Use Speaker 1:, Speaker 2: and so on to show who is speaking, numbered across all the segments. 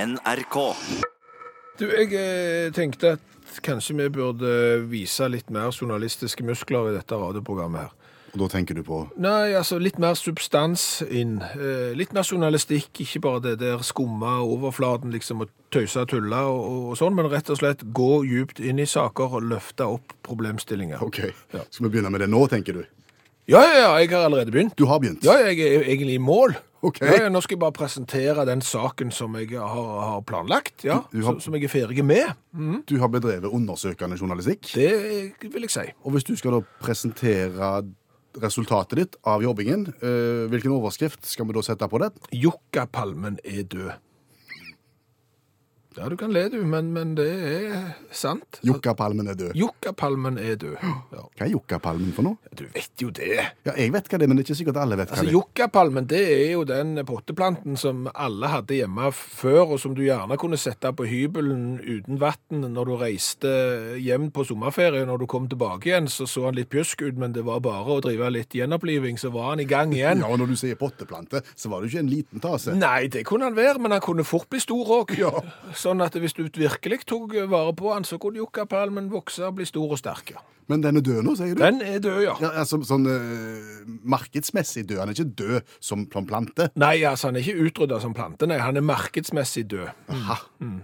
Speaker 1: NRK.
Speaker 2: Du, jeg eh, tenkte at kanskje vi burde vise litt mer journalistiske muskler i dette radioprogrammet her.
Speaker 3: Og da tenker du på
Speaker 2: Nei, altså litt mer substans inn. Eh, litt mer journalistikk, ikke bare det der skumma overflaten liksom og tøyse og tulle og, og, sånn, men rett og slett gå djupt inn i saker og løfte opp problemstillinger.
Speaker 3: OK, skal vi begynne med det nå, tenker du?
Speaker 2: Ja, ja, ja, jeg har allerede begynt.
Speaker 3: Du har begynt?
Speaker 2: Ja, jeg er egentlig i mål.
Speaker 3: Ok.
Speaker 2: Ja, ja, nå skal jeg bare presentere den saken som jeg har, har planlagt, ja,
Speaker 3: Du- du har-
Speaker 2: som- som jeg er ferdig med. Mm.
Speaker 3: Du har bedrevet undersøkende journalistikk.
Speaker 2: Det vil jeg si.
Speaker 3: Og hvis du skal da presentere resultatet ditt av jobbingen, eh, hvilken overskrift skal vi da sette på det?
Speaker 2: Jokkapalmen er død. Ja, du kan le du, men, men det er sant.
Speaker 3: Jokkapalmen er død.
Speaker 2: Jokkapalmen er død. Ja.
Speaker 3: Hva er jokkapalmen for noe?
Speaker 2: Du vet jo det.
Speaker 3: Ja, jeg vet hva det er, men det er ikke sikkert alle vet hva
Speaker 2: Altså,
Speaker 3: det er.
Speaker 2: Jokkapalmen det er jo den potteplanten som alle hadde hjemme før, og som du gjerne kunne sette på hybelen uten vann når du reiste hjem på sommerferie. Når du kom tilbake igjen, så så han litt pjusk ut, men det var bare å drive litt gjenoppliving, så var han i gang igjen.
Speaker 3: Ja, og når du sier potteplante, så var det jo ikke en liten tase.
Speaker 2: Nei, det kunne han være, men han kunne fort bli stor òg. Sånn at hvis du virkelig tok vare på han, så kunne jokkapalmen vokse og bli stor og sterk. ja.
Speaker 3: Men den er død nå, sier du?
Speaker 2: Den er død, ja.
Speaker 3: Mm. Ja, altså, sånn eh, markedsmessig død. Han er ikke død som som plante.
Speaker 2: Nei, altså, han er ikke utrydda som plante, nei. Han er markedsmessig død.
Speaker 3: Aha.
Speaker 2: Mm.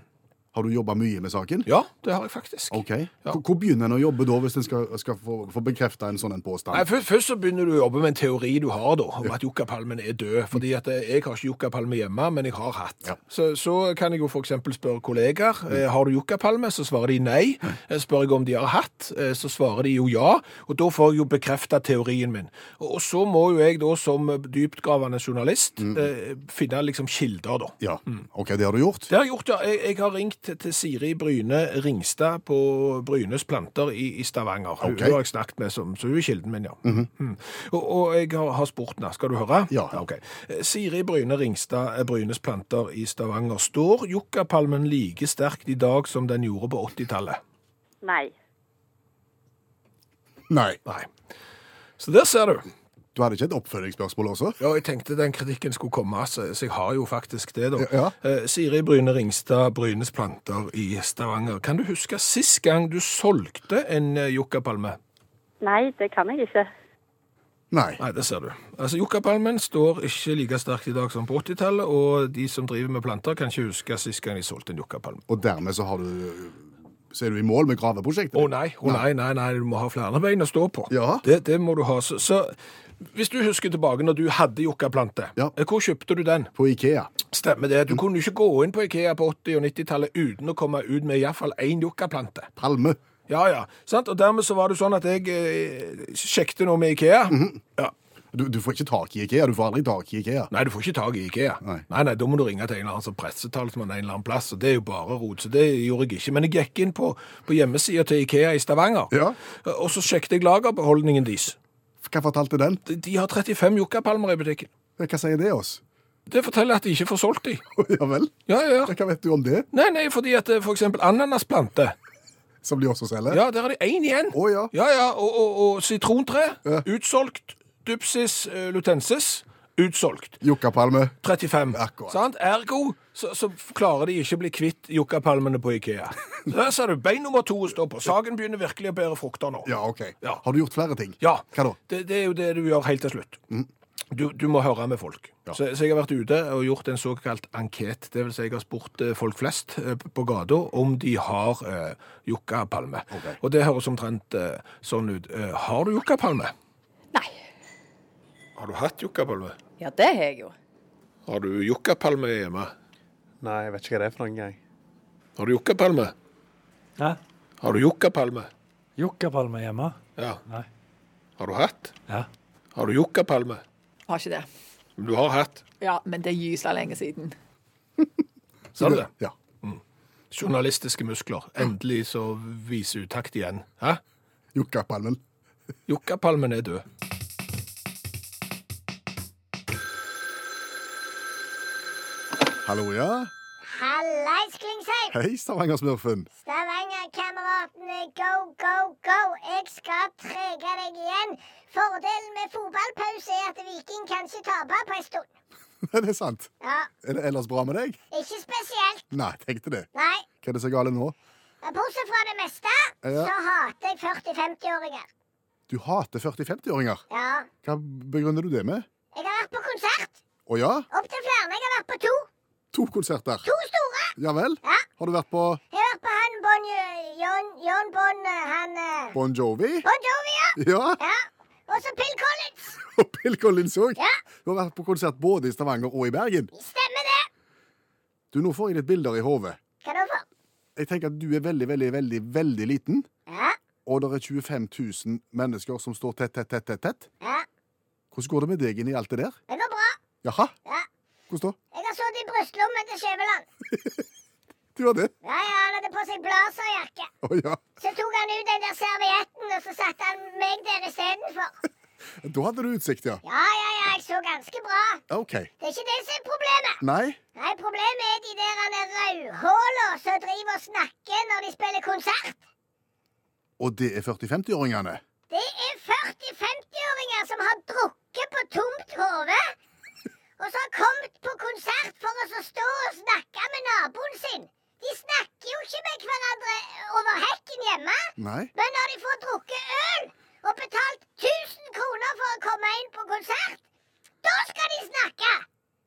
Speaker 3: Har du jobba mye med saken?
Speaker 2: Ja, det har jeg faktisk.
Speaker 3: Ok. Hvor- Hvor begynner en å jobbe da, hvis en skal, skal få, få bekrefta en sånn en påstand?
Speaker 2: Nei, først, først så begynner du å jobbe med en teori du har da, om at jokkapalmen er død. Fordi at eh, jeg har ikke jokkapalme hjemme, men jeg har hatt.
Speaker 3: Ja.
Speaker 2: Så, så kan jeg jo for eksempel spørre kollegaer, eh, har du jokkapalme? Så svarer de nei. Eh, Spør jeg om de har hatt, eh, så svarer de jo ja. Og da får jeg jo bekreftet teorien min. Og, og så må jo jeg da som dyptgravende journalist eh, finne liksom kilder da.
Speaker 3: Ja, ok, det har du gjort.
Speaker 2: Det har jeg gjort, ja. Jeg, jeg har ringt til Siri Bryne Ringstad på Brynes planter i, i Stavanger. Hun,
Speaker 3: Ok. Mhm.
Speaker 2: hun har jeg snakket med, som, så hun er kilden min, ja. Mm. Og, og jeg har, har spurt henne. Skal du høre?
Speaker 3: Ja.
Speaker 2: ok. Eh, Siri Bryne Ringstad, eh, Brynes planter i Stavanger. Står jokkapalmen like sterkt i dag som den gjorde på 80-tallet?
Speaker 4: Nei.
Speaker 3: Nei.
Speaker 2: Nei. Så der ser du.
Speaker 3: Du hadde ikke et oppfølgingsspørsmål også?
Speaker 2: Ja, jeg tenkte den kritikken skulle komme, altså. så, så jeg har jo faktisk det, da.
Speaker 3: Ja.
Speaker 2: Eh, Siri Bryne Ringstad, Brynes planter i Stavanger. Kan du huske sist gang du solgte en eh, jokkapalme?
Speaker 4: Nei, det kan jeg ikke.
Speaker 3: Nei.
Speaker 2: Nei, det ser du. Altså, Jokkapalmen står ikke like sterkt i dag som på 80-tallet, og de som driver med planter, kan ikke huske sist gang de solgte en jokkapalme.
Speaker 3: Og dermed så har du Så er du i mål med graveprosjektet?
Speaker 2: Å nei, å nei, nei, nei, du må ha flere bein å stå på.
Speaker 3: Ja.
Speaker 2: Det, det må du ha. Så, så hvis du husker tilbake når du hadde jokkaplante,
Speaker 3: Ja.
Speaker 2: eh, hvor kjøpte du den?
Speaker 3: På Ikea.
Speaker 2: Stemmer det. Du kunne jo ikke gå inn på Ikea på 80- og 90-tallet uten å komme ut med iallfall én jokkaplante.
Speaker 3: Palme.
Speaker 2: Ja, ja. Sant? Og dermed så var det sånn at jeg eh, sjekket noe med Ikea.
Speaker 3: Mhm.
Speaker 2: ja.
Speaker 3: Du, du får ikke tak i Ikea. Du får aldri tak i Ikea.
Speaker 2: Nei, du får ikke tak i Ikea.
Speaker 3: Nei.
Speaker 2: nei, da må du ringe til en eller annen som pressetalsmann en eller annen plass, og det er jo bare rot, så det gjorde jeg ikke. Men jeg gikk inn på, på hjemmesida til Ikea i Stavanger,
Speaker 3: Ja.
Speaker 2: og så sjekket jeg lagerbeholdningen deres.
Speaker 3: Hva fortalte den?
Speaker 2: De, de har 35 jokkapalmer i butikken.
Speaker 3: Hva sier det oss?
Speaker 2: Det forteller at de ikke får solgt de.
Speaker 3: ja vel?
Speaker 2: Ja, ja.
Speaker 3: Hva vet du om det,
Speaker 2: Nei, nei, fordi at eh, for eksempel ananasplante,
Speaker 3: som de også selger?
Speaker 2: Ja, der er det én igjen.
Speaker 3: Å, ja.
Speaker 2: ja, ja. Og, og, og sitrontre.
Speaker 3: Ja.
Speaker 2: Utsolgt. Dupsis eh, lutensis. Utsolgt.
Speaker 3: Jokkapalme.
Speaker 2: 35.
Speaker 3: Akkurat.
Speaker 2: Sant? Ergo så, så klarer de ikke å bli kvitt jokkapalmene på Ikea. Så Der ser du bein nummer to å stå på. Saken begynner virkelig å bære frukter nå.
Speaker 3: Ja, OK.
Speaker 2: Ja.
Speaker 3: Har du gjort flere ting?
Speaker 2: Ja.
Speaker 3: Hva da? Mm.
Speaker 2: Det, det er jo det du gjør helt til slutt. Du, du må høre med folk. Så, så jeg har vært ute og gjort en såkalt anket. Det vil si jeg har spurt eh, folk flest eh, på gata om de har eh, jokkapalme.
Speaker 3: Ok.
Speaker 2: Og det høres omtrent eh, sånn ut. Eh, har du jokkapalme?
Speaker 5: Nei.
Speaker 2: Har du hatt jokkapalme?
Speaker 5: Ja, det har jeg jo.
Speaker 2: Har du jokkapalme hjemme?
Speaker 6: Nei, jeg vet ikke hva det er for noe, jeg.
Speaker 2: Har du jokkapalme?
Speaker 7: Hæ?
Speaker 2: Har du jokkapalme?
Speaker 7: Jokkapalme hjemme?
Speaker 2: Ja.
Speaker 7: Nei.
Speaker 2: Har du hatt?
Speaker 7: Ja.
Speaker 2: Har du jokkapalme?
Speaker 5: Har ikke det.
Speaker 2: Men Du har hatt.
Speaker 5: Ja, men det er gysla lenge siden.
Speaker 2: Sa
Speaker 7: Sånn,
Speaker 2: du det?
Speaker 3: Ja.
Speaker 2: Journalistiske muskler. Endelig så viser utakt igjen. Hæ?
Speaker 3: Jokkapalmen.
Speaker 2: Jokkapalmen er død.
Speaker 3: Hallo, ja?
Speaker 8: Hallais, Klingsheim!
Speaker 3: Hei, Stavanger-smurfen.
Speaker 8: Stavanger-kameratene, go, go, go! Jeg skal trege deg igjen. Fordelen med fotballpause er at Viking kan ikke tape på en stund.
Speaker 3: det er sant.
Speaker 8: Ja,
Speaker 3: Er det ellers bra med deg?
Speaker 8: ikke spesielt.
Speaker 3: Nei, tenkte det.
Speaker 8: Nei.
Speaker 3: Hva er det som er gale nå?
Speaker 8: Bortsett fra det meste,
Speaker 3: Ja.
Speaker 8: så hater jeg 40-50-åringer.
Speaker 3: Du hater 40-50-åringer.
Speaker 8: Ja.
Speaker 3: Hva begrunner du det med?
Speaker 8: Jeg har vært på konsert.
Speaker 3: Å ja,
Speaker 8: Opptil flere. Jeg har vært på to.
Speaker 3: to konserter.
Speaker 8: To store.
Speaker 3: Ja vel?
Speaker 8: Ja.
Speaker 3: Har du vært på
Speaker 8: Jeg har vært på han Bon Jo- John, John Bon eh, Han eh,
Speaker 3: Bon Jovi?
Speaker 8: Bon Jovi, ja.
Speaker 3: Ja,
Speaker 8: ja. Og så Pill Collins.
Speaker 3: og Bill Collins òg.
Speaker 8: Ja.
Speaker 3: Du har vært på konsert både i Stavanger og i Bergen.
Speaker 8: Stemmer det.
Speaker 3: Du, Nå får jeg litt bilder i hodet.
Speaker 8: Hva da for?
Speaker 3: Jeg tenker at du er veldig, veldig, veldig, veldig liten,
Speaker 8: Ja.
Speaker 3: og det er 25 000 mennesker som står tett, tett, tett, tett, tett.
Speaker 8: Ja.
Speaker 3: Hvordan går det med deg inni alt det der?
Speaker 8: Det går bra.
Speaker 3: Jaha?
Speaker 8: Ja.
Speaker 3: Hvordan da?
Speaker 8: Jeg har sittet i brystlommen til Skjæveland.
Speaker 3: Du har det?
Speaker 8: Ja, ja, han hadde på seg blazerjakke.
Speaker 3: Å ja.
Speaker 8: Så tok han ut den der servietten, og så satte han meg der istedenfor.
Speaker 3: Da hadde du utsikt, ja.
Speaker 8: Ja, ja, ja, jeg så ganske bra.
Speaker 3: Ja, OK.
Speaker 8: Det er ikke det som er problemet.
Speaker 3: Nei?
Speaker 8: Nei, Problemet er de der han er rødhåla som driver og snakker når de spiller konsert.
Speaker 3: Og det er 40-50-åringene?
Speaker 8: Det er 40-50-åringer som har drukket på tomt hode, og så har kommet på konsert for å så stå og snakke med naboen sin. De snakker jo ikke med hverandre over hekken hjemme.
Speaker 3: Nei?
Speaker 8: Men når de får drukket øl og betalt 1000 kroner for å komme inn på konsert, da skal de snakke!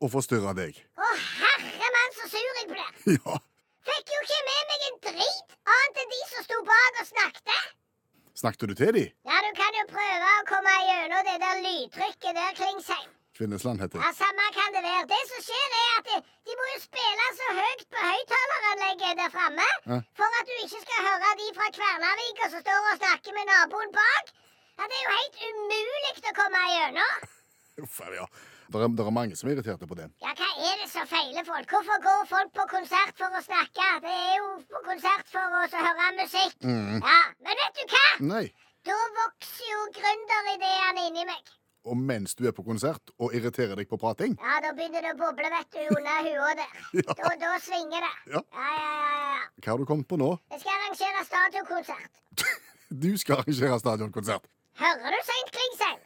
Speaker 3: Og forstyrre deg?
Speaker 8: Å, herre mann, så sur jeg blir!
Speaker 3: Ja.
Speaker 8: Fikk jo ikke med meg en drit annet enn de som sto bak og snakket.
Speaker 3: Snakket du til de?
Speaker 8: Ja, du kan jo prøve å komme gjennom det der lydtrykket der, Klingsheim.
Speaker 3: Kvinnesland heter
Speaker 8: Ja,
Speaker 3: det.
Speaker 8: Samme kan det være. Det som skjer, er at de, de må jo spille så høyt på høyttaleranlegget der framme
Speaker 3: Ja.
Speaker 8: for at du ikke skal høre de fra Kvernavika som står og snakker med naboen bak. Ja, Det er jo helt umulig å komme gjennom.
Speaker 3: Uff, ja. Det er, der er mange som er irriterte på det.
Speaker 8: Ja, hva er det som feiler folk? Hvorfor går folk på konsert for å snakke? Det er jo på konsert for å så høre musikk. Ja, Men vet du hva?
Speaker 3: Nei.
Speaker 8: Da vokser jo gründerideene inni meg.
Speaker 3: Og mens du er på konsert og irriterer deg på prating?
Speaker 8: Ja, da begynner det å boble, vet du, under hua der. Da, da svinger det.
Speaker 3: Ja.
Speaker 8: ja, ja, ja, ja.
Speaker 3: Hva har du kommet på nå?
Speaker 8: Jeg skal arrangere stadionkonsert.
Speaker 3: Du skal arrangere stadionkonsert.
Speaker 8: Hører du seint, Klingsheim?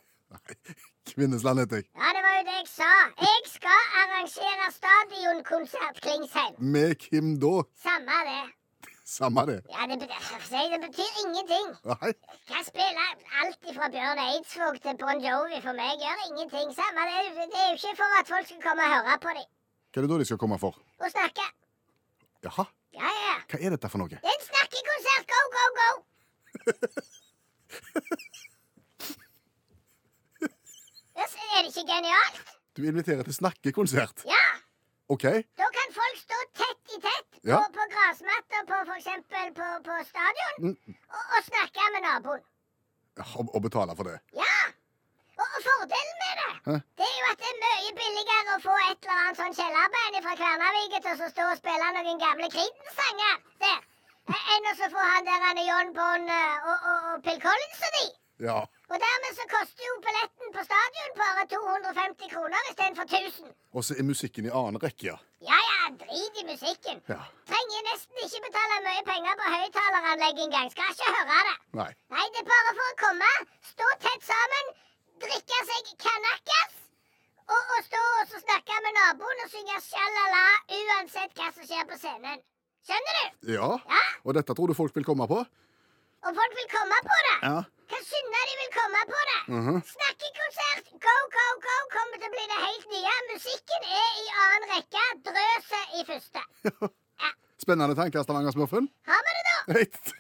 Speaker 3: Kvinnesland heter jeg.
Speaker 8: Ja, det var jo det jeg sa. Jeg skal arrangere stadionkonsert, Klingsheim.
Speaker 3: Med hvem da?
Speaker 8: Samme det.
Speaker 3: Samme det.
Speaker 8: Ja, det, bet- si, det betyr ingenting.
Speaker 3: Nei.
Speaker 8: Kan spille alt fra Bjørn Eidsvåg til Bon Jovi for meg. Gjør ingenting. Samme det. Det er jo ikke for at folk skal komme og høre på dem
Speaker 3: Hva er det da de skal komme for?
Speaker 8: og snakke.
Speaker 3: Jaha,
Speaker 8: Ja, ja.
Speaker 3: hva er dette for noe?
Speaker 8: Det er en snakkekonsert. Go, go, go. Ja, så Er det ikke genialt?
Speaker 3: Du inviterer til snakkekonsert.
Speaker 8: Ja,
Speaker 3: OK,
Speaker 8: da kan folk stå tett i tett på,
Speaker 3: Ja.
Speaker 8: på grasmatta på for eksempel på, på stadion og, og snakke med naboen.
Speaker 3: og, og betale for det.
Speaker 8: Ja! Og, og fordelen med det,
Speaker 3: Hæ?
Speaker 8: det er jo at det er mye billigere å få et eller annet sånn kjellerband fra Kvernavika til å stå og spille noen gamle Creedence-sanger der, eh, enn å så få han der han John Bond eh, og, og, og Phil Collins og de.
Speaker 3: Ja.
Speaker 8: Og dermed så koster jo billetten på stadion bare 250 kroner istedenfor 1000.
Speaker 3: Og så er musikken i annen rekke, ja.
Speaker 8: Ja ja, drit i musikken.
Speaker 3: Ja.
Speaker 8: Trenger nesten ikke betale mye penger på høyttaleranlegg engang. Skal ikke høre det.
Speaker 3: Nei.
Speaker 8: Nei, det er bare for å komme, stå tett sammen, drikke seg kanakkas og, og stå og så snakke med naboen og synge sjalala uansett hva som skjer på scenen. Skjønner du?
Speaker 3: Ja.
Speaker 8: Ja.
Speaker 3: Og dette tror du folk vil komme på?
Speaker 8: Og folk vil komme på det.
Speaker 3: Ja.
Speaker 8: Hva synder de vil komme på det? Snakkekonsert, go, go, go kommer til å bli det helt nye. Musikken er i annen rekke, drøset i første.
Speaker 3: Spennende tanker, Stavanger-smurfen.
Speaker 8: Har vi det da?
Speaker 3: Rett.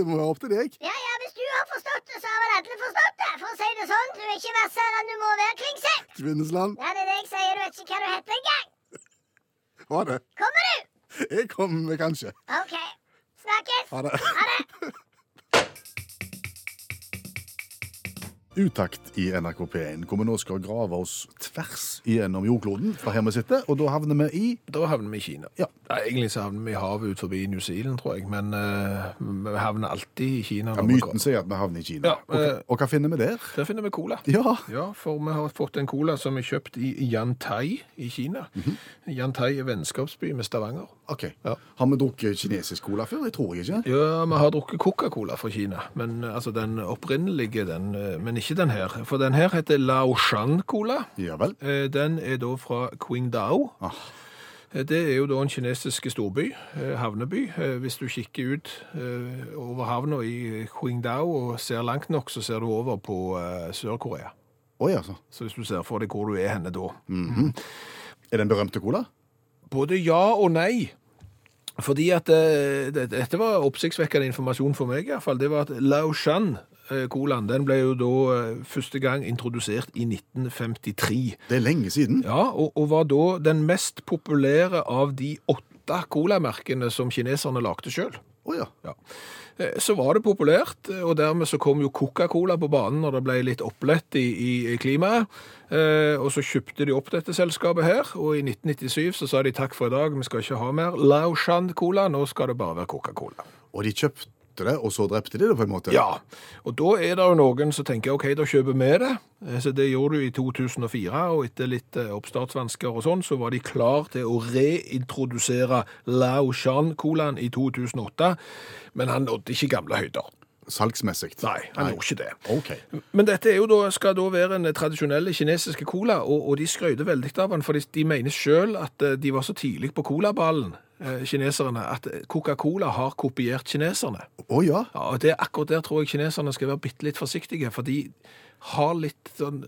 Speaker 3: Det må være opp til deg.
Speaker 8: Ja, ja, hvis du har forstått det, så har vel alle forstått det. For å si det sånn, du er ikke vassere enn du må være, Klingsheim.
Speaker 3: Kvinnesland.
Speaker 8: Ja, det er det jeg sier, du vet ikke hva du heter engang.
Speaker 3: Ha det.
Speaker 8: Kommer du?
Speaker 3: Jeg kommer kanskje.
Speaker 8: OK. Snakkes.
Speaker 3: Ha det.
Speaker 8: Ha det.
Speaker 3: Utakt i NRK P1, hvor vi nå skal grave oss tvers igjennom jordkloden fra her vi sitter, og da havner vi i
Speaker 2: Da havner vi i Kina.
Speaker 3: Ja.
Speaker 2: Ja, egentlig så havner vi i havet ut forbi New Zealand, tror jeg, men eh, vi havner alltid i Kina.
Speaker 3: Ja,
Speaker 2: når vi
Speaker 3: myten sier at vi havner i Kina.
Speaker 2: Ja, eh,
Speaker 3: og, hva- og hva finner vi der?
Speaker 2: Der finner vi cola.
Speaker 3: Ja,
Speaker 2: Ja, for vi har fått en cola som er kjøpt i Yantai i Kina.
Speaker 3: Mhm.
Speaker 2: Yantai er vennskapsby med Stavanger.
Speaker 3: ok.
Speaker 2: Ja.
Speaker 3: Har vi drukket kinesisk cola før? Det tror jeg ikke.
Speaker 2: Ja, vi har drukket Coca-Cola fra Kina, men eh, altså den opprinnelige, den, eh, men ikke den her. For den her heter Laoshan-cola.
Speaker 3: Ja vel.
Speaker 2: Eh, Den er da fra Qingdao.
Speaker 3: Ah.
Speaker 2: Eh, Det er jo da en kinesisk storby, eh, havneby. Eh, Hvis du kikker ut eh, over havna i Qingdao og ser langt nok, så ser du over på eh, Sør-Korea.
Speaker 3: Oi, altså.
Speaker 2: Så hvis du ser for deg hvor du er henne da.
Speaker 3: Er det en berømte cola?
Speaker 2: Både ja og nei. Fordi at eh, det, dette var oppsiktsvekkende informasjon for meg i hvert fall. Det var at Laoshan eh, Colaen, den ble jo da eh, første gang introdusert i 1953.
Speaker 3: Det er lenge siden.
Speaker 2: Ja, og, og var da den mest populære av de åtte colamerkene som kineserne lagde sjøl.
Speaker 3: Å ja.
Speaker 2: Eh, Så var det populært, eh, og dermed så kom jo Coca-Cola på banen når det ble litt opplett i, i i klimaet. Eh, og så kjøpte de opp dette selskapet her, og i 1997 så sa de takk for i dag, vi skal ikke ha mer Laoshan-cola, nå skal det bare være Coca-Cola.
Speaker 3: Og de kjøpte det, og så drepte de det på en måte?
Speaker 2: Ja, og da er det jo noen som tenker ok, da kjøper vi det. Eh, Så det gjorde du i 2004, og etter litt eh, oppstartsvansker og sånn, så var de klar til å reintrodusere Lao Shan-colaen i 2008, men han nådde ikke gamle høyder.
Speaker 3: Salgsmessig?
Speaker 2: Nei, han gjorde ikke det.
Speaker 3: OK.
Speaker 2: Men dette er jo da, skal da være en tradisjonell kinesiske cola, og, og de skrøyde veldig av den, for de, de mener selv at eh, de var så tidlig på colaballen, eh, kineserne, at Coca-Cola har kopiert kineserne.
Speaker 3: Å ja.
Speaker 2: Ja, og det er akkurat der tror jeg kineserne skal være bitte litt forsiktige, for de har litt sånn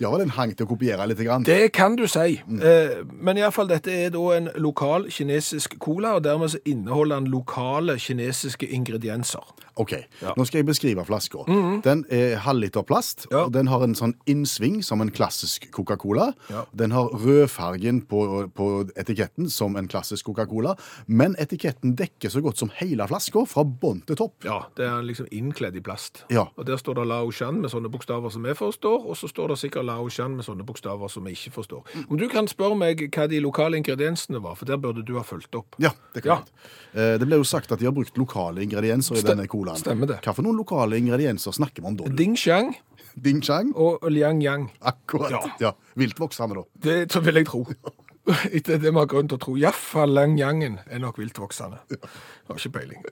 Speaker 3: De har vel en hang til å kopiere litt? Grann.
Speaker 2: Det kan du si. Eh, Men iallfall, dette er da en lokal kinesisk cola, og dermed så inneholder den lokale kinesiske ingredienser.
Speaker 3: OK.
Speaker 2: Ja. Mhm.
Speaker 3: Nå skal jeg beskrive flaska. Den er halvliter plast,
Speaker 2: Ja.
Speaker 3: og den har en sånn innsving som en klassisk Coca-Cola.
Speaker 2: Ja.
Speaker 3: Den har rødfargen på, på etiketten som en klassisk Coca-Cola, men etiketten dekker så godt som hele flaska, fra bånn til topp.
Speaker 2: Ja, Det er liksom innkledd i plast.
Speaker 3: Ja.
Speaker 2: Og Der står det Lao Shan med sånne bokstaver som vi forstår, og så står det sikkert Lao Shan med sånne bokstaver som vi ikke forstår. Om du kan spørre meg hva de lokale ingrediensene var, for der burde du ha fulgt opp.
Speaker 3: Ja, det kan
Speaker 2: Ja.
Speaker 3: jeg. Eh, Det ble jo sagt at de har brukt lokale ingredienser i
Speaker 2: Ste-
Speaker 3: denne colaen.
Speaker 2: stemmer det.
Speaker 3: Hva for noen lokale ingredienser snakker vi om da? du?
Speaker 2: Ding Xiang
Speaker 3: Ding Chang?
Speaker 2: og Liang Yang.
Speaker 3: Akkurat. Ja.
Speaker 2: Ja.
Speaker 3: Viltvoksende, da.
Speaker 2: Det så vil jeg tro. Etter det vi har grunn til å tro. Iallfall langjangen er nok viltvoksende. Har ikke peiling.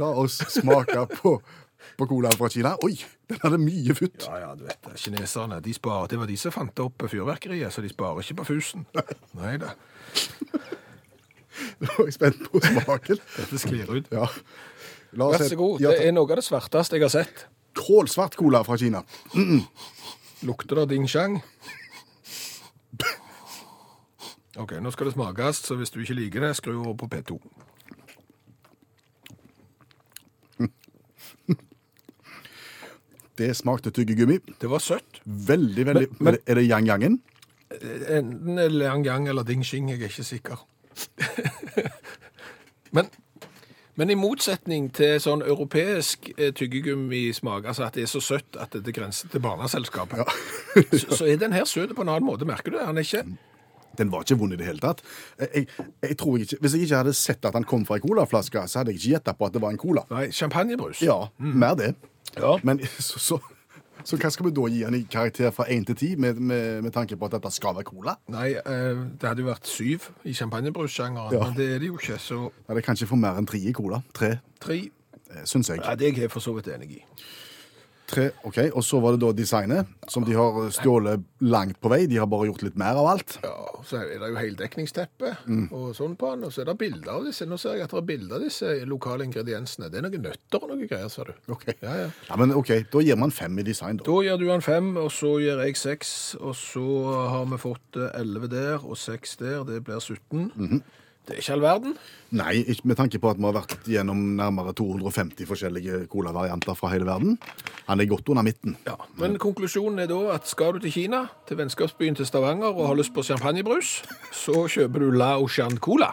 Speaker 3: La oss smake på, på colaen fra Kina. Oi, den hadde mye futt.
Speaker 2: Ja, ja, du vet det. Kineserne de sparer. Det var de som fant opp fyrverkeriet, så de sparer ikke på fusen. Nei da.
Speaker 3: Nå er jeg spent på smaken.
Speaker 2: Dette sklir ut.
Speaker 3: Ja. La
Speaker 2: Vær så god.
Speaker 3: Ja,
Speaker 2: Det er noe av det svarteste jeg har sett.
Speaker 3: Kålsvart cola fra Kina.
Speaker 2: Lukter det ding shang? OK, nå skal det smakes, så hvis du ikke liker det, skru over på P2.
Speaker 3: Det smakte tyggegummi.
Speaker 2: Det var søtt.
Speaker 3: Veldig, veldig
Speaker 2: Men- men-
Speaker 3: Er det yang-yangen?
Speaker 2: Enten er det Liang Yang eller Ding Xing, jeg er ikke sikker. men, men i motsetning til sånn europeisk eh, tyggegummismak, altså at det er så søtt at det grenser til barneselskapet, så, så er den her søt på en annen måte, merker du det? Han er
Speaker 3: Mm.
Speaker 2: ikke
Speaker 3: Den var ikke vond i det hele tatt. Jeg, jeg, jeg tror jeg ikke, Hvis jeg ikke hadde sett at den kom fra ei colaflaske, så hadde jeg ikke gjetta på at det var en cola.
Speaker 2: Nei, champagnebrus.
Speaker 3: Ja, mer det.
Speaker 2: Mm. Ja.
Speaker 3: Men så, så, så hva skal vi da gi den i karakter fra én til ti, med, med, med tanke på at dette skal være cola?
Speaker 2: Nei, eh, det hadde jo vært syv i champagnebrus-sjangeren,
Speaker 3: Ja.
Speaker 2: men det er det jo ikke, så
Speaker 3: Nei, det kan ikke få mer enn tre i cola. Tre,
Speaker 2: tre
Speaker 3: eh, syns jeg.
Speaker 2: Ja, det er jeg for så vidt enig i.
Speaker 3: Tre, ok, Og så var det da designet, som de har stjålet langt på vei. De har bare gjort litt mer av alt.
Speaker 2: Ja, så er det jo heldekningsteppe og sånn på den, og så er det bilder av disse. Nå ser jeg at det er bilder av disse lokale ingrediensene. Det er noen nøtter og noen greier, sa du.
Speaker 3: Ok.
Speaker 2: Ja, ja.
Speaker 3: Ja, men ok, Da gir man fem i design, da.
Speaker 2: Da gjør du han fem, og så gjør jeg seks, og så har vi fått eh, 11 der, og seks der, det blir 17. Det er ikke all verden.
Speaker 3: Nei, ikke med tanke på at vi har vært gjennom nærmere 250 forskjellige colavarianter fra hele verden. Han er godt under midten.
Speaker 2: Ja, men konklusjonen er da at skal du til Kina, til vennskapsbyen til Stavanger, og har lyst på champagnebrus, så kjøper du Laoshan Cola.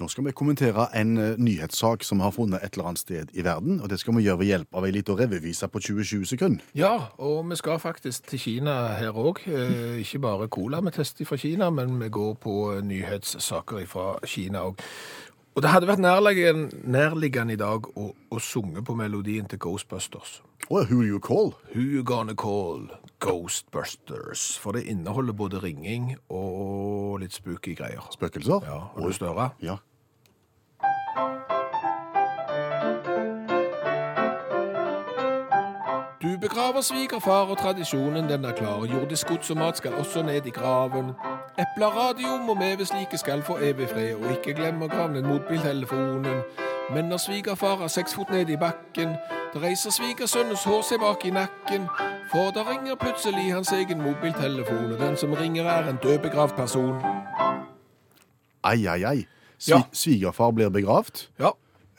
Speaker 3: Nå skal vi kommentere en eh, nyhetssak som vi har funnet et eller annet sted i verden. Og det skal vi gjøre ved hjelp av ei lita revyvise på 20-20 sekunder.
Speaker 2: Ja, og vi skal faktisk til Kina her òg. Eh, ikke bare cola vi tester fra Kina, men vi går på nyhetssaker fra Kina òg. Og det hadde vært nærliggende, nærliggende i dag å, å sunge på melodien til Ghostbusters.
Speaker 3: Å, who you call?
Speaker 2: Who you gonna call Ghostbusters? For det inneholder både ringing og litt spooky greier.
Speaker 3: Spøkelser?
Speaker 2: Ja, Har du lyst til å høre?
Speaker 3: Ja.
Speaker 2: Du begraver svigerfar og tradisjonen den er klar. Jordisk gods og mat skal også ned i graven. Epler, radium og med ved slike skal få evig fred, og ikke glem å gravne den mobiltelefonen. Men når svigerfar har seks fot ned i bakken, da reiser svigersønnens hår seg bak i nakken. For da ringer plutselig hans egen mobiltelefon, og den som ringer er en dødbegravd person.
Speaker 3: Ai, ai, ai. Svi
Speaker 2: Ja.
Speaker 3: Svigerfar blir begravd
Speaker 2: Ja,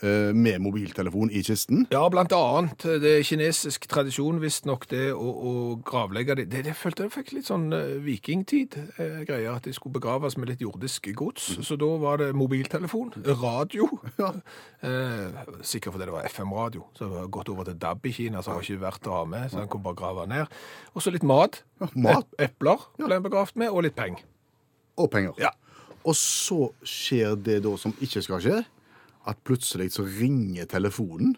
Speaker 3: eh, med mobiltelefon i kisten.
Speaker 2: Ja, blant annet. Det er kinesisk tradisjon, visstnok, det å, å gravlegge de. Det, det følte jeg fikk litt sånn eh, vikingtid, eh, greia at de skulle begraves med litt jordisk gods.
Speaker 3: Mm.
Speaker 2: Så da var det mobiltelefon, radio. Eh, sikkert fordi det var FM-radio, så det var gått over til DAB i Kina, så det var ikke verdt å ha med, så han kunne bare grave ned. Og så litt mat.
Speaker 3: Ja, mat.
Speaker 2: Ep- Epler ble han begravd med, og litt penger.
Speaker 3: Og penger.
Speaker 2: Ja.
Speaker 3: Og så skjer det da som ikke skal skje, at plutselig så ringer telefonen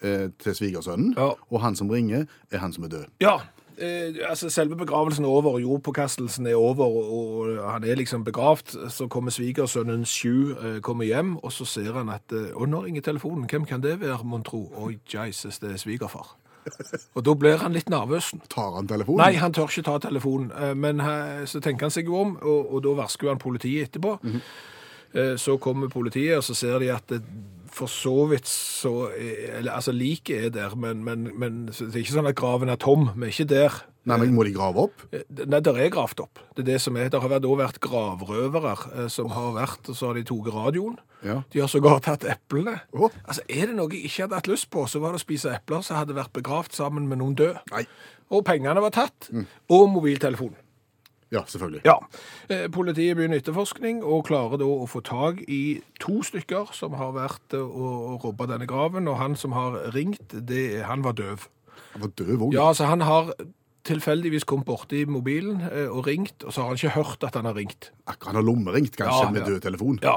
Speaker 3: eh, til svigersønnen,
Speaker 2: Mm. Ja.
Speaker 3: og han som ringer, er han som er død.
Speaker 2: Ja. Eh, altså Selve begravelsen er over, og jordpåkastelsen er over, og, og han er liksom begravd. Så kommer svigersønnen Sju eh, kommer hjem, og så ser han at eh, Og nå ringer telefonen. Hvem kan det være, mon tro? Oi, Jesus, det er svigerfar. Og da blir han litt nervøs.
Speaker 3: Tar han telefonen?
Speaker 2: Nei, han tør ikke ta telefonen. eh, Men eh, så tenker han seg jo om, og, og da varsker jo han politiet etterpå. Eh, Så kommer politiet, og så ser de at det, for så vidt så er- eller, Altså, liket er der, men, men, men så det er ikke sånn at graven er tom. Vi er ikke der.
Speaker 3: Nei, men må de grave opp?
Speaker 2: Eh, Nei, der er gravd opp. Det er det som er. Der har vært- da vært gravrøvere eh, som har vært, og så har de tatt radioen.
Speaker 3: Ja.
Speaker 2: De har sågar tatt eplene.
Speaker 3: Åh.
Speaker 2: Altså, Er det noe jeg ikke hadde hatt lyst på, så var det å spise epler som hadde vært begravd sammen med noen døde.
Speaker 3: Nei.
Speaker 2: Og pengene var tatt. Og mobiltelefonen.
Speaker 3: Ja, selvfølgelig.
Speaker 2: Mm. Ja. Eh, Politiet begynner etterforskning og klarer da å få tak i to stykker som har vært eh, og og robba denne graven. Og han som har ringt, det, er- han var døv.
Speaker 3: Han var død òg.
Speaker 2: Ja, altså han har tilfeldigvis kommet borti mobilen eh, og ringt, og så har han ikke hørt at han har ringt.
Speaker 3: Akkurat han har lommeringt, kanskje,
Speaker 2: Ja,
Speaker 3: med
Speaker 2: ja.
Speaker 3: død telefon.
Speaker 2: Ja.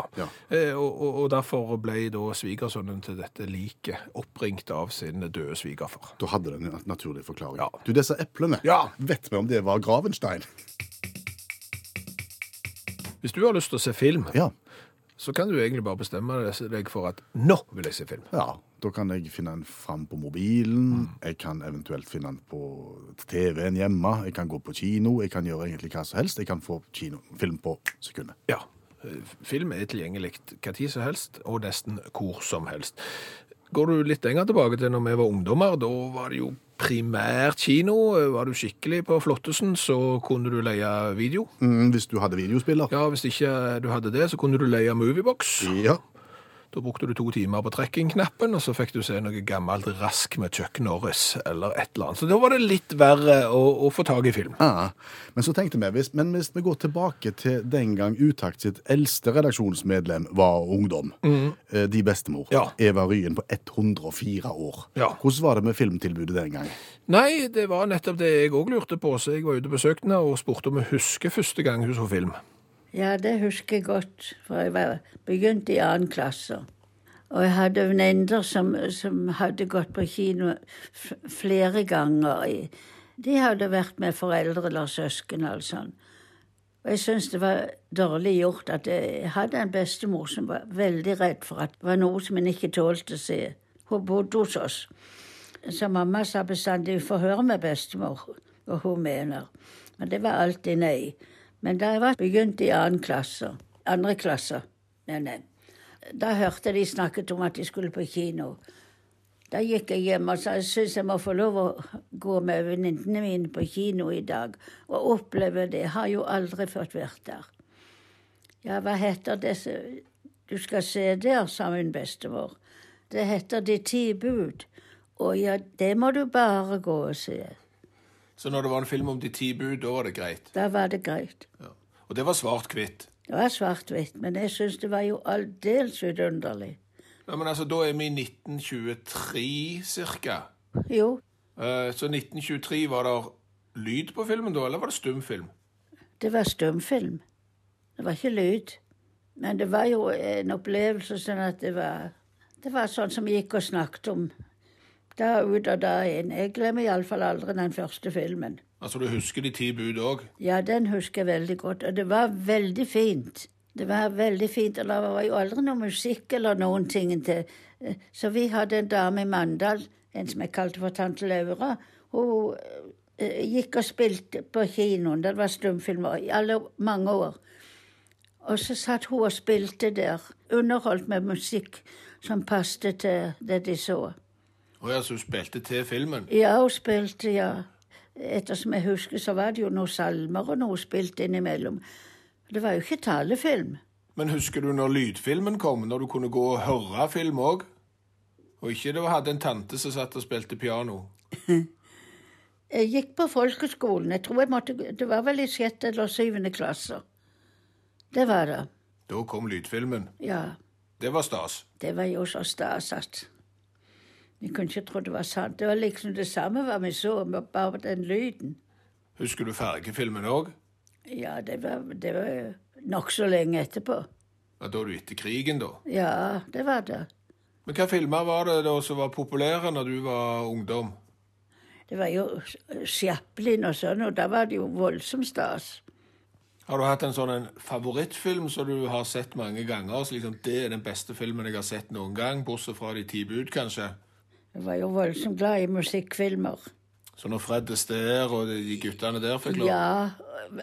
Speaker 2: Eh, og, og, og derfor ble da svigersønnen til dette liket oppringt av sin døde svigerfar.
Speaker 3: Da hadde den en naturlig forklaring.
Speaker 2: Ja.
Speaker 3: Du, disse eplene,
Speaker 2: Ja.
Speaker 3: vet vi om det var Gravenstein?
Speaker 2: Hvis du har lyst til å se film,
Speaker 3: Ja.
Speaker 2: så kan du egentlig bare bestemme deg for at nå vil jeg se film.
Speaker 3: ja. Da kan jeg finne den fram på mobilen, jeg kan eventuelt finne den på TV-en hjemme, jeg kan gå på kino, jeg kan gjøre egentlig hva som helst. Jeg kan få kinofilm på sekundet.
Speaker 2: Ja. eh, Film er tilgjengelig hva tid som helst, og nesten hvor som helst. Går du litt lenger tilbake til når vi var ungdommer, da var det jo primært kino. Eh, Var du skikkelig på Flottesen, så kunne du leie video.
Speaker 3: Mm, hvis du hadde videospiller.
Speaker 2: Ja, Hvis ikke du hadde det, så kunne du leie Moviebox.
Speaker 3: Ja.
Speaker 2: Da brukte du to timer på trekkingknappen, og så fikk du se noe gammelt rask med Chuck Norris eller et eller annet. Så da var det litt verre å, å få tak i film.
Speaker 3: Ah, men så tenkte vi, hvis, men hvis vi går tilbake til den gang Utakt sitt eldste redaksjonsmedlem var ungdom, eh, de bestemor,
Speaker 2: Mhm. Ja.
Speaker 3: Eva Ryen på 104 år.
Speaker 2: Ja.
Speaker 3: Hvordan var det med filmtilbudet den gang?
Speaker 2: Nei, det var nettopp det jeg òg lurte på, så jeg var ute og besøkte henne og spurte om hun husker første gang hun så film.
Speaker 1: Ja, det husker jeg godt, for jeg var begynte i annen klasse. Og jeg hadde venninner som, som hadde gått på kino f flere ganger. i- De hadde vært med foreldre eller søsken eller sånn. Og jeg syns det var dårlig gjort at jeg hadde en bestemor som var veldig redd for at det var noe som hun ikke tålte å se. Hun bodde hos oss. Så mamma sa bestandig 'du får høre med bestemor', hva hun mener. Og det var alltid nei. Men da jeg var begynt i annen klasse, andre klasse, mener jeg, da hørte de snakket om at de skulle på kino. Da gikk jeg hjem og sa jeg syns jeg må få lov å gå med venninnene mine på kino i dag og oppleve det. Jeg har jo aldri fått vært der. Ja, hva heter det som- du skal se der, sa min bestemor. Det heter De ti bud. Å ja, det må du bare gå og se.
Speaker 2: Så når det var en film om de ti bud, da var det greit.
Speaker 1: Da var det greit.
Speaker 2: Og det var svart-hvitt.
Speaker 1: Det var svart-hvitt, men jeg syns det var jo aldeles vidunderlig.
Speaker 2: Ja, men altså, Da er vi i 1923 cirka.
Speaker 1: Jo,
Speaker 2: Eh, Så 1923 var det lyd på filmen da, eller var det stumfilm?
Speaker 1: det var stumfilm. Det var ikke lyd. Men det var jo en opplevelse sånn at det var Det var sånn som vi gikk og snakket om da ut og da inn. Jeg glemmer iallfall aldri den første filmen.
Speaker 2: Altså, du husker de ti bud òg?
Speaker 1: Ja, den husker jeg veldig godt. Og det var veldig fint. Det var veldig fint, og det var jo aldri noe musikk eller noen ting til. Eh, Så vi hadde en dame i Mandal, en som jeg kalte for tante Laura. Hun eh, gikk og spilte på kinoen. Det var stumfilmer i alle mange år. Og så satt hun og spilte der, underholdt med musikk som passet til det de så.
Speaker 2: Å ja, så hun spilte til filmen?
Speaker 1: Ja, hun spilte, ja. Ettersom jeg husker, så var det jo noen salmer og noe spilt innimellom. Det var jo ikke talefilm.
Speaker 2: Men husker du når lydfilmen kom, når du kunne gå og høre film òg? Og ikke du hadde en tante som satt og spilte piano?
Speaker 1: Jeg gikk på folkeskolen. Jeg tror jeg måtte, Det var vel i sjette eller syvende klasse. Det var det.
Speaker 2: Da kom lydfilmen.
Speaker 1: Ja.
Speaker 2: Det var stas.
Speaker 1: Det var jo så stas at Jeg kunne ikke tro det var sant. Det var liksom det samme hva vi så, men bare den lyden.
Speaker 2: Husker du fargefilmen òg?
Speaker 1: Ja, det var, det var jo nokså lenge etterpå.
Speaker 2: Ja, da er du etter krigen, da.
Speaker 1: Ja, det var det.
Speaker 2: Men hva filmer var det da som var populære når du var ungdom?
Speaker 1: Det var jo Chaplin og sånn, og da var det jo voldsomt stas.
Speaker 2: Har du hatt en sånn en favorittfilm som du har sett mange ganger? Så liksom, det er den beste filmen jeg har sett noen gang, bortsett fra De ti bud, kanskje?
Speaker 1: Jeg var jo voldsomt glad i musikkfilmer.
Speaker 2: Så når Fred Astaire og de- de guttene der fikk lov
Speaker 1: Ja,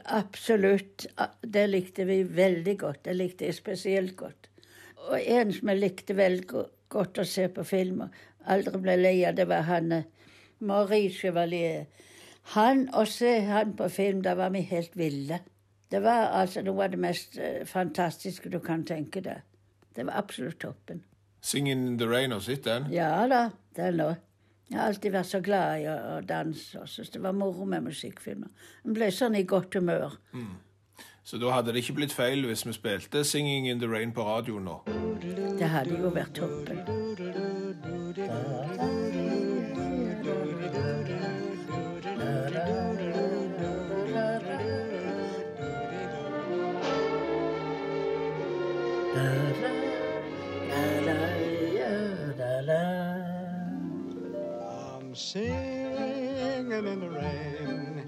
Speaker 1: absolutt. Det likte vi veldig godt. Det likte jeg spesielt godt. Og en som jeg likte veldig go- godt å se på film, og aldri ble lei av, det var han eh, Marie Chevalier. Han, å se han på film, da var vi helt ville. Det var altså noe av det mest eh, fantastiske du kan tenke deg. Det var absolutt toppen.
Speaker 2: Singing in the Rain og sitt den.
Speaker 1: Ja da, det er lov. Jeg har alltid vært så glad i å, å danse og syntes det var moro med musikkfilmer. En ble sånn i godt humør.
Speaker 2: Så da hadde det ikke blitt feil hvis vi spilte Singing in the Rain på radioen nå.
Speaker 1: Det hadde jo vært toppen.
Speaker 9: I'm singing in the rain,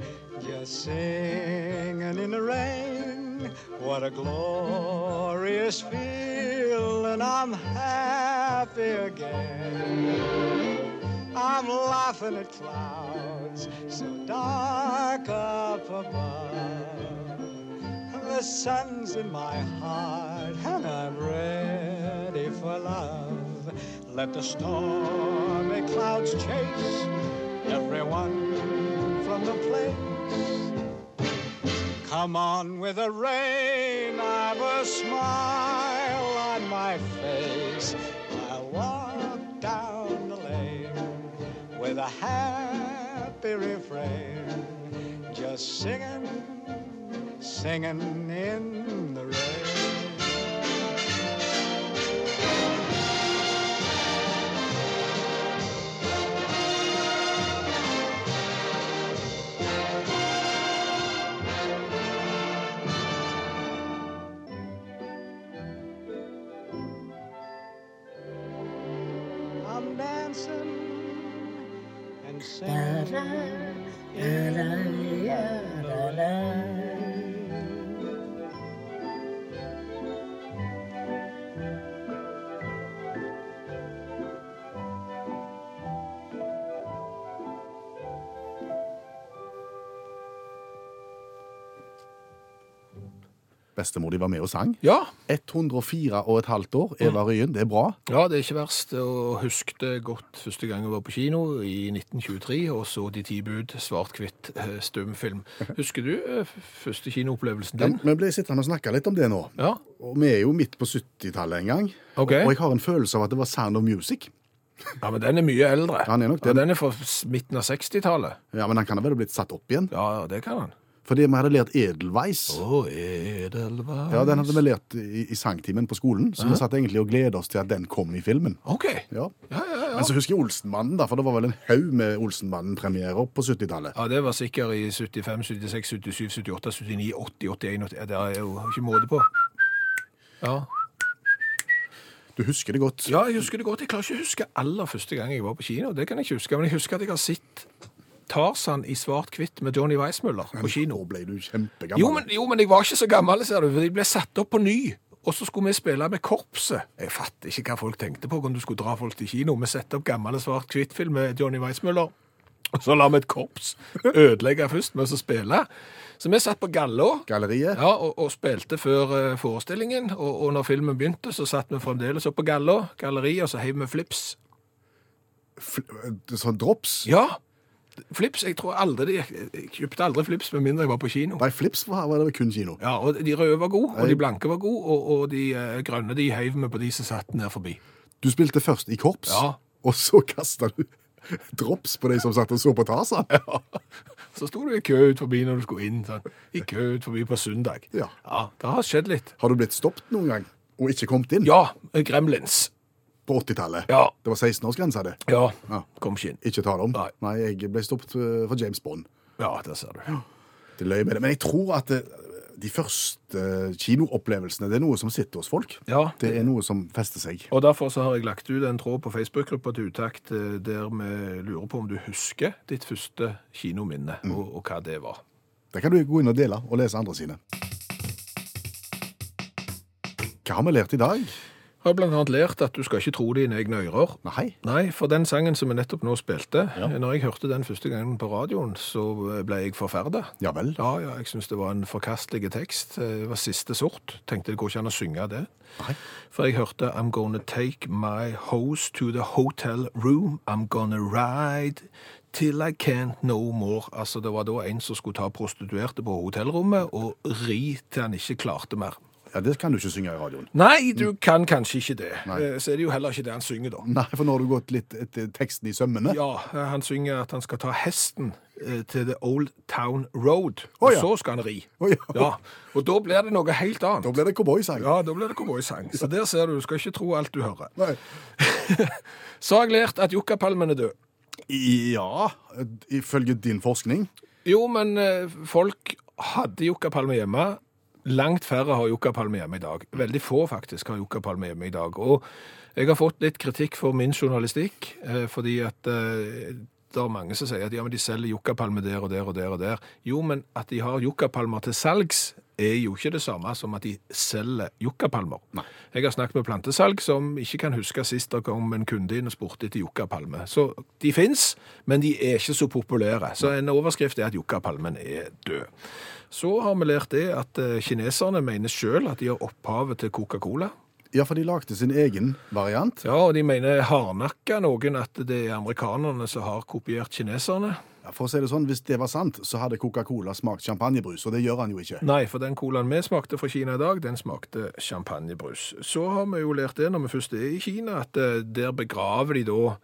Speaker 9: just singing in the rain. What a glorious feeling, I'm happy again. I'm laughing at clouds so dark up above. The sun's in my heart, and I'm ready for love. Let the stormy clouds chase everyone from the place. Come on with the rain, I've a smile on my face. I'll walk down the lane with a happy refrain, just singing, singing in the rain. I'm dancing and singing.
Speaker 3: Bestemor de var med og sang.
Speaker 2: Ja.
Speaker 3: 104 og et halvt år,
Speaker 2: Mhm.
Speaker 3: Eva Ryen. Det er bra.
Speaker 2: ja, det er ikke verst. Og husket det godt første gang jeg var på kino, i 1923, og så De ti bud, svart-hvitt eh, stumfilm. Husker du eh, første kinoopplevelsen
Speaker 3: Ja,
Speaker 2: din?
Speaker 3: Vi ble sittende og snakke litt om det nå.
Speaker 2: Ja.
Speaker 3: Og vi er jo midt på 70-tallet en gang.
Speaker 2: Ok.
Speaker 3: Og jeg har en følelse av at det var Sound of Music.
Speaker 2: ja, men den er mye eldre.
Speaker 3: Ja, den er nok
Speaker 2: Ja,
Speaker 3: det.
Speaker 2: den er fra s- midten av 60-tallet.
Speaker 3: Ja, Men han kan ha vel ha blitt satt opp igjen?
Speaker 2: Ja, ja, det kan han.
Speaker 3: Fordi vi hadde lært Edelweiss.
Speaker 2: Å, Edelweiss.
Speaker 3: Ja, Den hadde vi lært i, i sangtimen på skolen, så vi satt egentlig og gledet oss til at den kom i filmen.
Speaker 2: OK.
Speaker 3: Ja.
Speaker 2: Ja, ja, ja.
Speaker 3: Men så husker jeg Olsenmannen, da, for det var vel en haug med Olsenmannen-premierer på 70-tallet.
Speaker 2: Ja, Det var sikkert i 75, 76, 77, 78, 79, 80, 81 80. Det er jo ikke måte på. Ja.
Speaker 3: Du husker det godt.
Speaker 2: ja, jeg husker det godt. Jeg klarer ikke å huske aller første gang jeg var på kino. Det kan jeg ikke huske, Men jeg husker at jeg har sett Tarzan i svart-hvitt med Johnny Weissmuller på kino.
Speaker 3: Nå ble du kjempegammel.
Speaker 2: Jo men, jo, men jeg var ikke så gammel, ser du. for Jeg ble satt opp på ny. Og så skulle vi spille med korpset. Jeg fatter ikke hva folk tenkte på om du skulle dra folk til kino. Vi setter opp gammel svart-hvitt-film med Johnny Weissmuller. Og så lar vi et korps ødelegge først med å spille. Så vi satt på galla.
Speaker 3: Galleriet.
Speaker 2: Ja, og, og spilte før eh, forestillingen, og, og når filmen begynte, så satt vi fremdeles oppe på galla, galleriet, og så heiv vi flips.
Speaker 3: Fl- Sånn drops.
Speaker 2: Ja! Flips, jeg tror aldri de Jeg kjøpte aldri flips med mindre jeg var på kino.
Speaker 3: Nei, flips var, var det kun kino.
Speaker 2: Ja, og De røde var gode, og
Speaker 3: Nei.
Speaker 2: de blanke var gode, og, og de eh, grønne de heiv vi på de som satt ned forbi.
Speaker 3: Du spilte først i korps,
Speaker 2: Ja.
Speaker 3: og så kasta du drops på de som satt og så på Tarzan.
Speaker 2: Så sto du i kø ut forbi når du skulle inn. Sånn. I kø ut forbi på søndag.
Speaker 3: Ja.
Speaker 2: Det har skjedd litt.
Speaker 3: Har du blitt stoppet noen gang og ikke kommet inn
Speaker 2: Ja, eh, Gremlins.
Speaker 3: på 80-tallet?
Speaker 2: Ja.
Speaker 3: Det var 16-årsgrensa, det.
Speaker 2: Ja.
Speaker 3: Ja.
Speaker 2: Kom ikke inn.
Speaker 3: Ikke tale om.
Speaker 2: Nei.
Speaker 3: jeg ble stoppet eh, for James Bond.
Speaker 2: Ja, der ser du.
Speaker 3: Det løy med det. Men jeg tror at eh, de første eh, kinoopplevelsene det er noe som sitter hos folk.
Speaker 2: Ja,
Speaker 3: Det er noe som fester seg.
Speaker 2: Og derfor så har jeg lagt ut en tråd på Facebook-gruppa til Utakt eh, der vi lurer på om du husker ditt første kinominne,
Speaker 3: Mm.
Speaker 2: og, og hva det var.
Speaker 3: Det kan du gå inn og dele og lese andre sine. Hva har vi lært i dag?
Speaker 2: Jeg har blant annet lært at du skal ikke tro dine egne ører.
Speaker 3: Nei.
Speaker 2: Nei, for den sangen som vi nettopp nå spilte, når jeg hørte den første gangen på radioen, så ble jeg forferda.
Speaker 3: Ja vel.
Speaker 2: Ja, ja, jeg syns det var en forkastelig tekst. Det var siste sort. Tenkte det går ikke an å synge det.
Speaker 3: Nei.
Speaker 2: For jeg hørte I'm gonna take my hose to the hotel room. I'm gonna ride till I can't no more. Altså, det var da en som skulle ta prostituerte på hotellrommet og ri til han ikke klarte mer.
Speaker 3: Ja, det kan du ikke synge i radioen.
Speaker 2: Nei, du kan kanskje ikke det.
Speaker 3: Nei.
Speaker 2: Eh, Så er det jo heller ikke det han synger, da.
Speaker 3: Nei, for nå har du gått litt etter teksten i sømmene.
Speaker 2: Ja, eh, han synger at han skal ta hesten eh, til The Old Town Road, og
Speaker 3: Å, ja.
Speaker 2: så skal han ri.
Speaker 3: Å, ja.
Speaker 2: Ja, og da blir det noe helt
Speaker 3: Da
Speaker 2: annet.
Speaker 3: blir det cowboysang.
Speaker 2: Ja, da blir det cowboysang. Så der ser du, du skal ikke tro alt du hører.
Speaker 3: Nei.
Speaker 2: Så har jeg lært at yuccapalmen er død.
Speaker 3: Ja, ifølge din forskning.
Speaker 2: Jo, men eh, folk hadde yuccapalme hjemme. Langt færre har yuccapalme hjemme i dag. Veldig få faktisk har yuccapalme hjemme i dag. Og jeg har fått litt kritikk for min journalistikk, eh, fordi at eh, det er mange som sier at ja, men de selger yuccapalme der og der og der og der. Jo, men at de har yuccapalmer til salgs, er jo ikke det samme som at de selger yuccapalmer. Jeg har snakket med plantesalg som ikke kan huske sist det kom en kunde inn og spurte etter yuccapalme. Så de fins, men de er ikke så populære. Så en overskrift er at yuccapalmen er død. Så har vi lært det at eh, kineserne mener sjøl at de har opphavet til Coca-Cola.
Speaker 3: Ja, for de lagde sin egen variant.
Speaker 2: Ja, og de mener hardnakka noen at det er amerikanerne som har kopiert kineserne.
Speaker 3: Ja, for å si det sånn, Hvis det var sant, så hadde Coca-Cola smakt champagnebrus, og det gjør han jo ikke.
Speaker 2: Nei, for den colaen vi smakte fra Kina i dag, den smakte champagnebrus. Så har vi jo lært det når vi først er i Kina, at eh, der begraver de da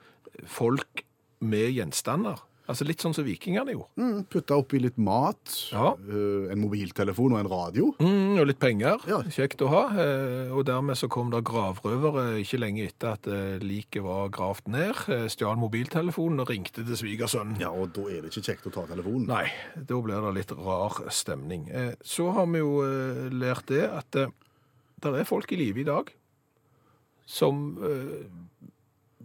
Speaker 2: folk med gjenstander. Altså litt sånn som vikingene gjorde.
Speaker 3: Mm, Putta oppi litt mat,
Speaker 2: Ja.
Speaker 3: eh, en mobiltelefon og en radio.
Speaker 2: Mm, og litt penger.
Speaker 3: Ja.
Speaker 2: Kjekt å ha. Eh, Og dermed så kom det gravrøvere ikke lenge etter at eh, liket var gravd ned. eh, Stjal mobiltelefonen og ringte til svigersønnen.
Speaker 3: Ja, og da er det ikke kjekt å ta telefonen.
Speaker 2: Nei, da blir det litt rar stemning. Eh, Så har vi jo eh, lært det at det er folk i live i dag som eh,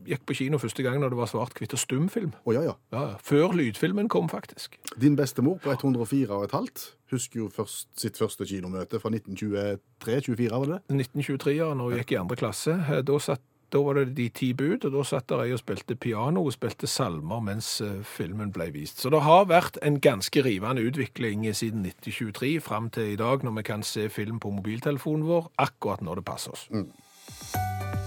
Speaker 2: gikk på kino første gang når det var svart-hvitt og stumfilm.
Speaker 3: Å, ja, ja.
Speaker 2: Ja, ja. før lydfilmen kom, faktisk.
Speaker 3: Din bestemor på 104 og et halvt husker jo først sitt første kinomøte fra 1923-24, var det det?
Speaker 2: 1923-eren, når hun gikk i andre klasse, eh, da, satt, da var det de ti bud, og da satt der ei og spilte piano og spilte salmer mens eh, filmen ble vist. Så det har vært en ganske rivende utvikling siden 1923 fram til i dag, når vi kan se film på mobiltelefonen vår akkurat når det passer oss.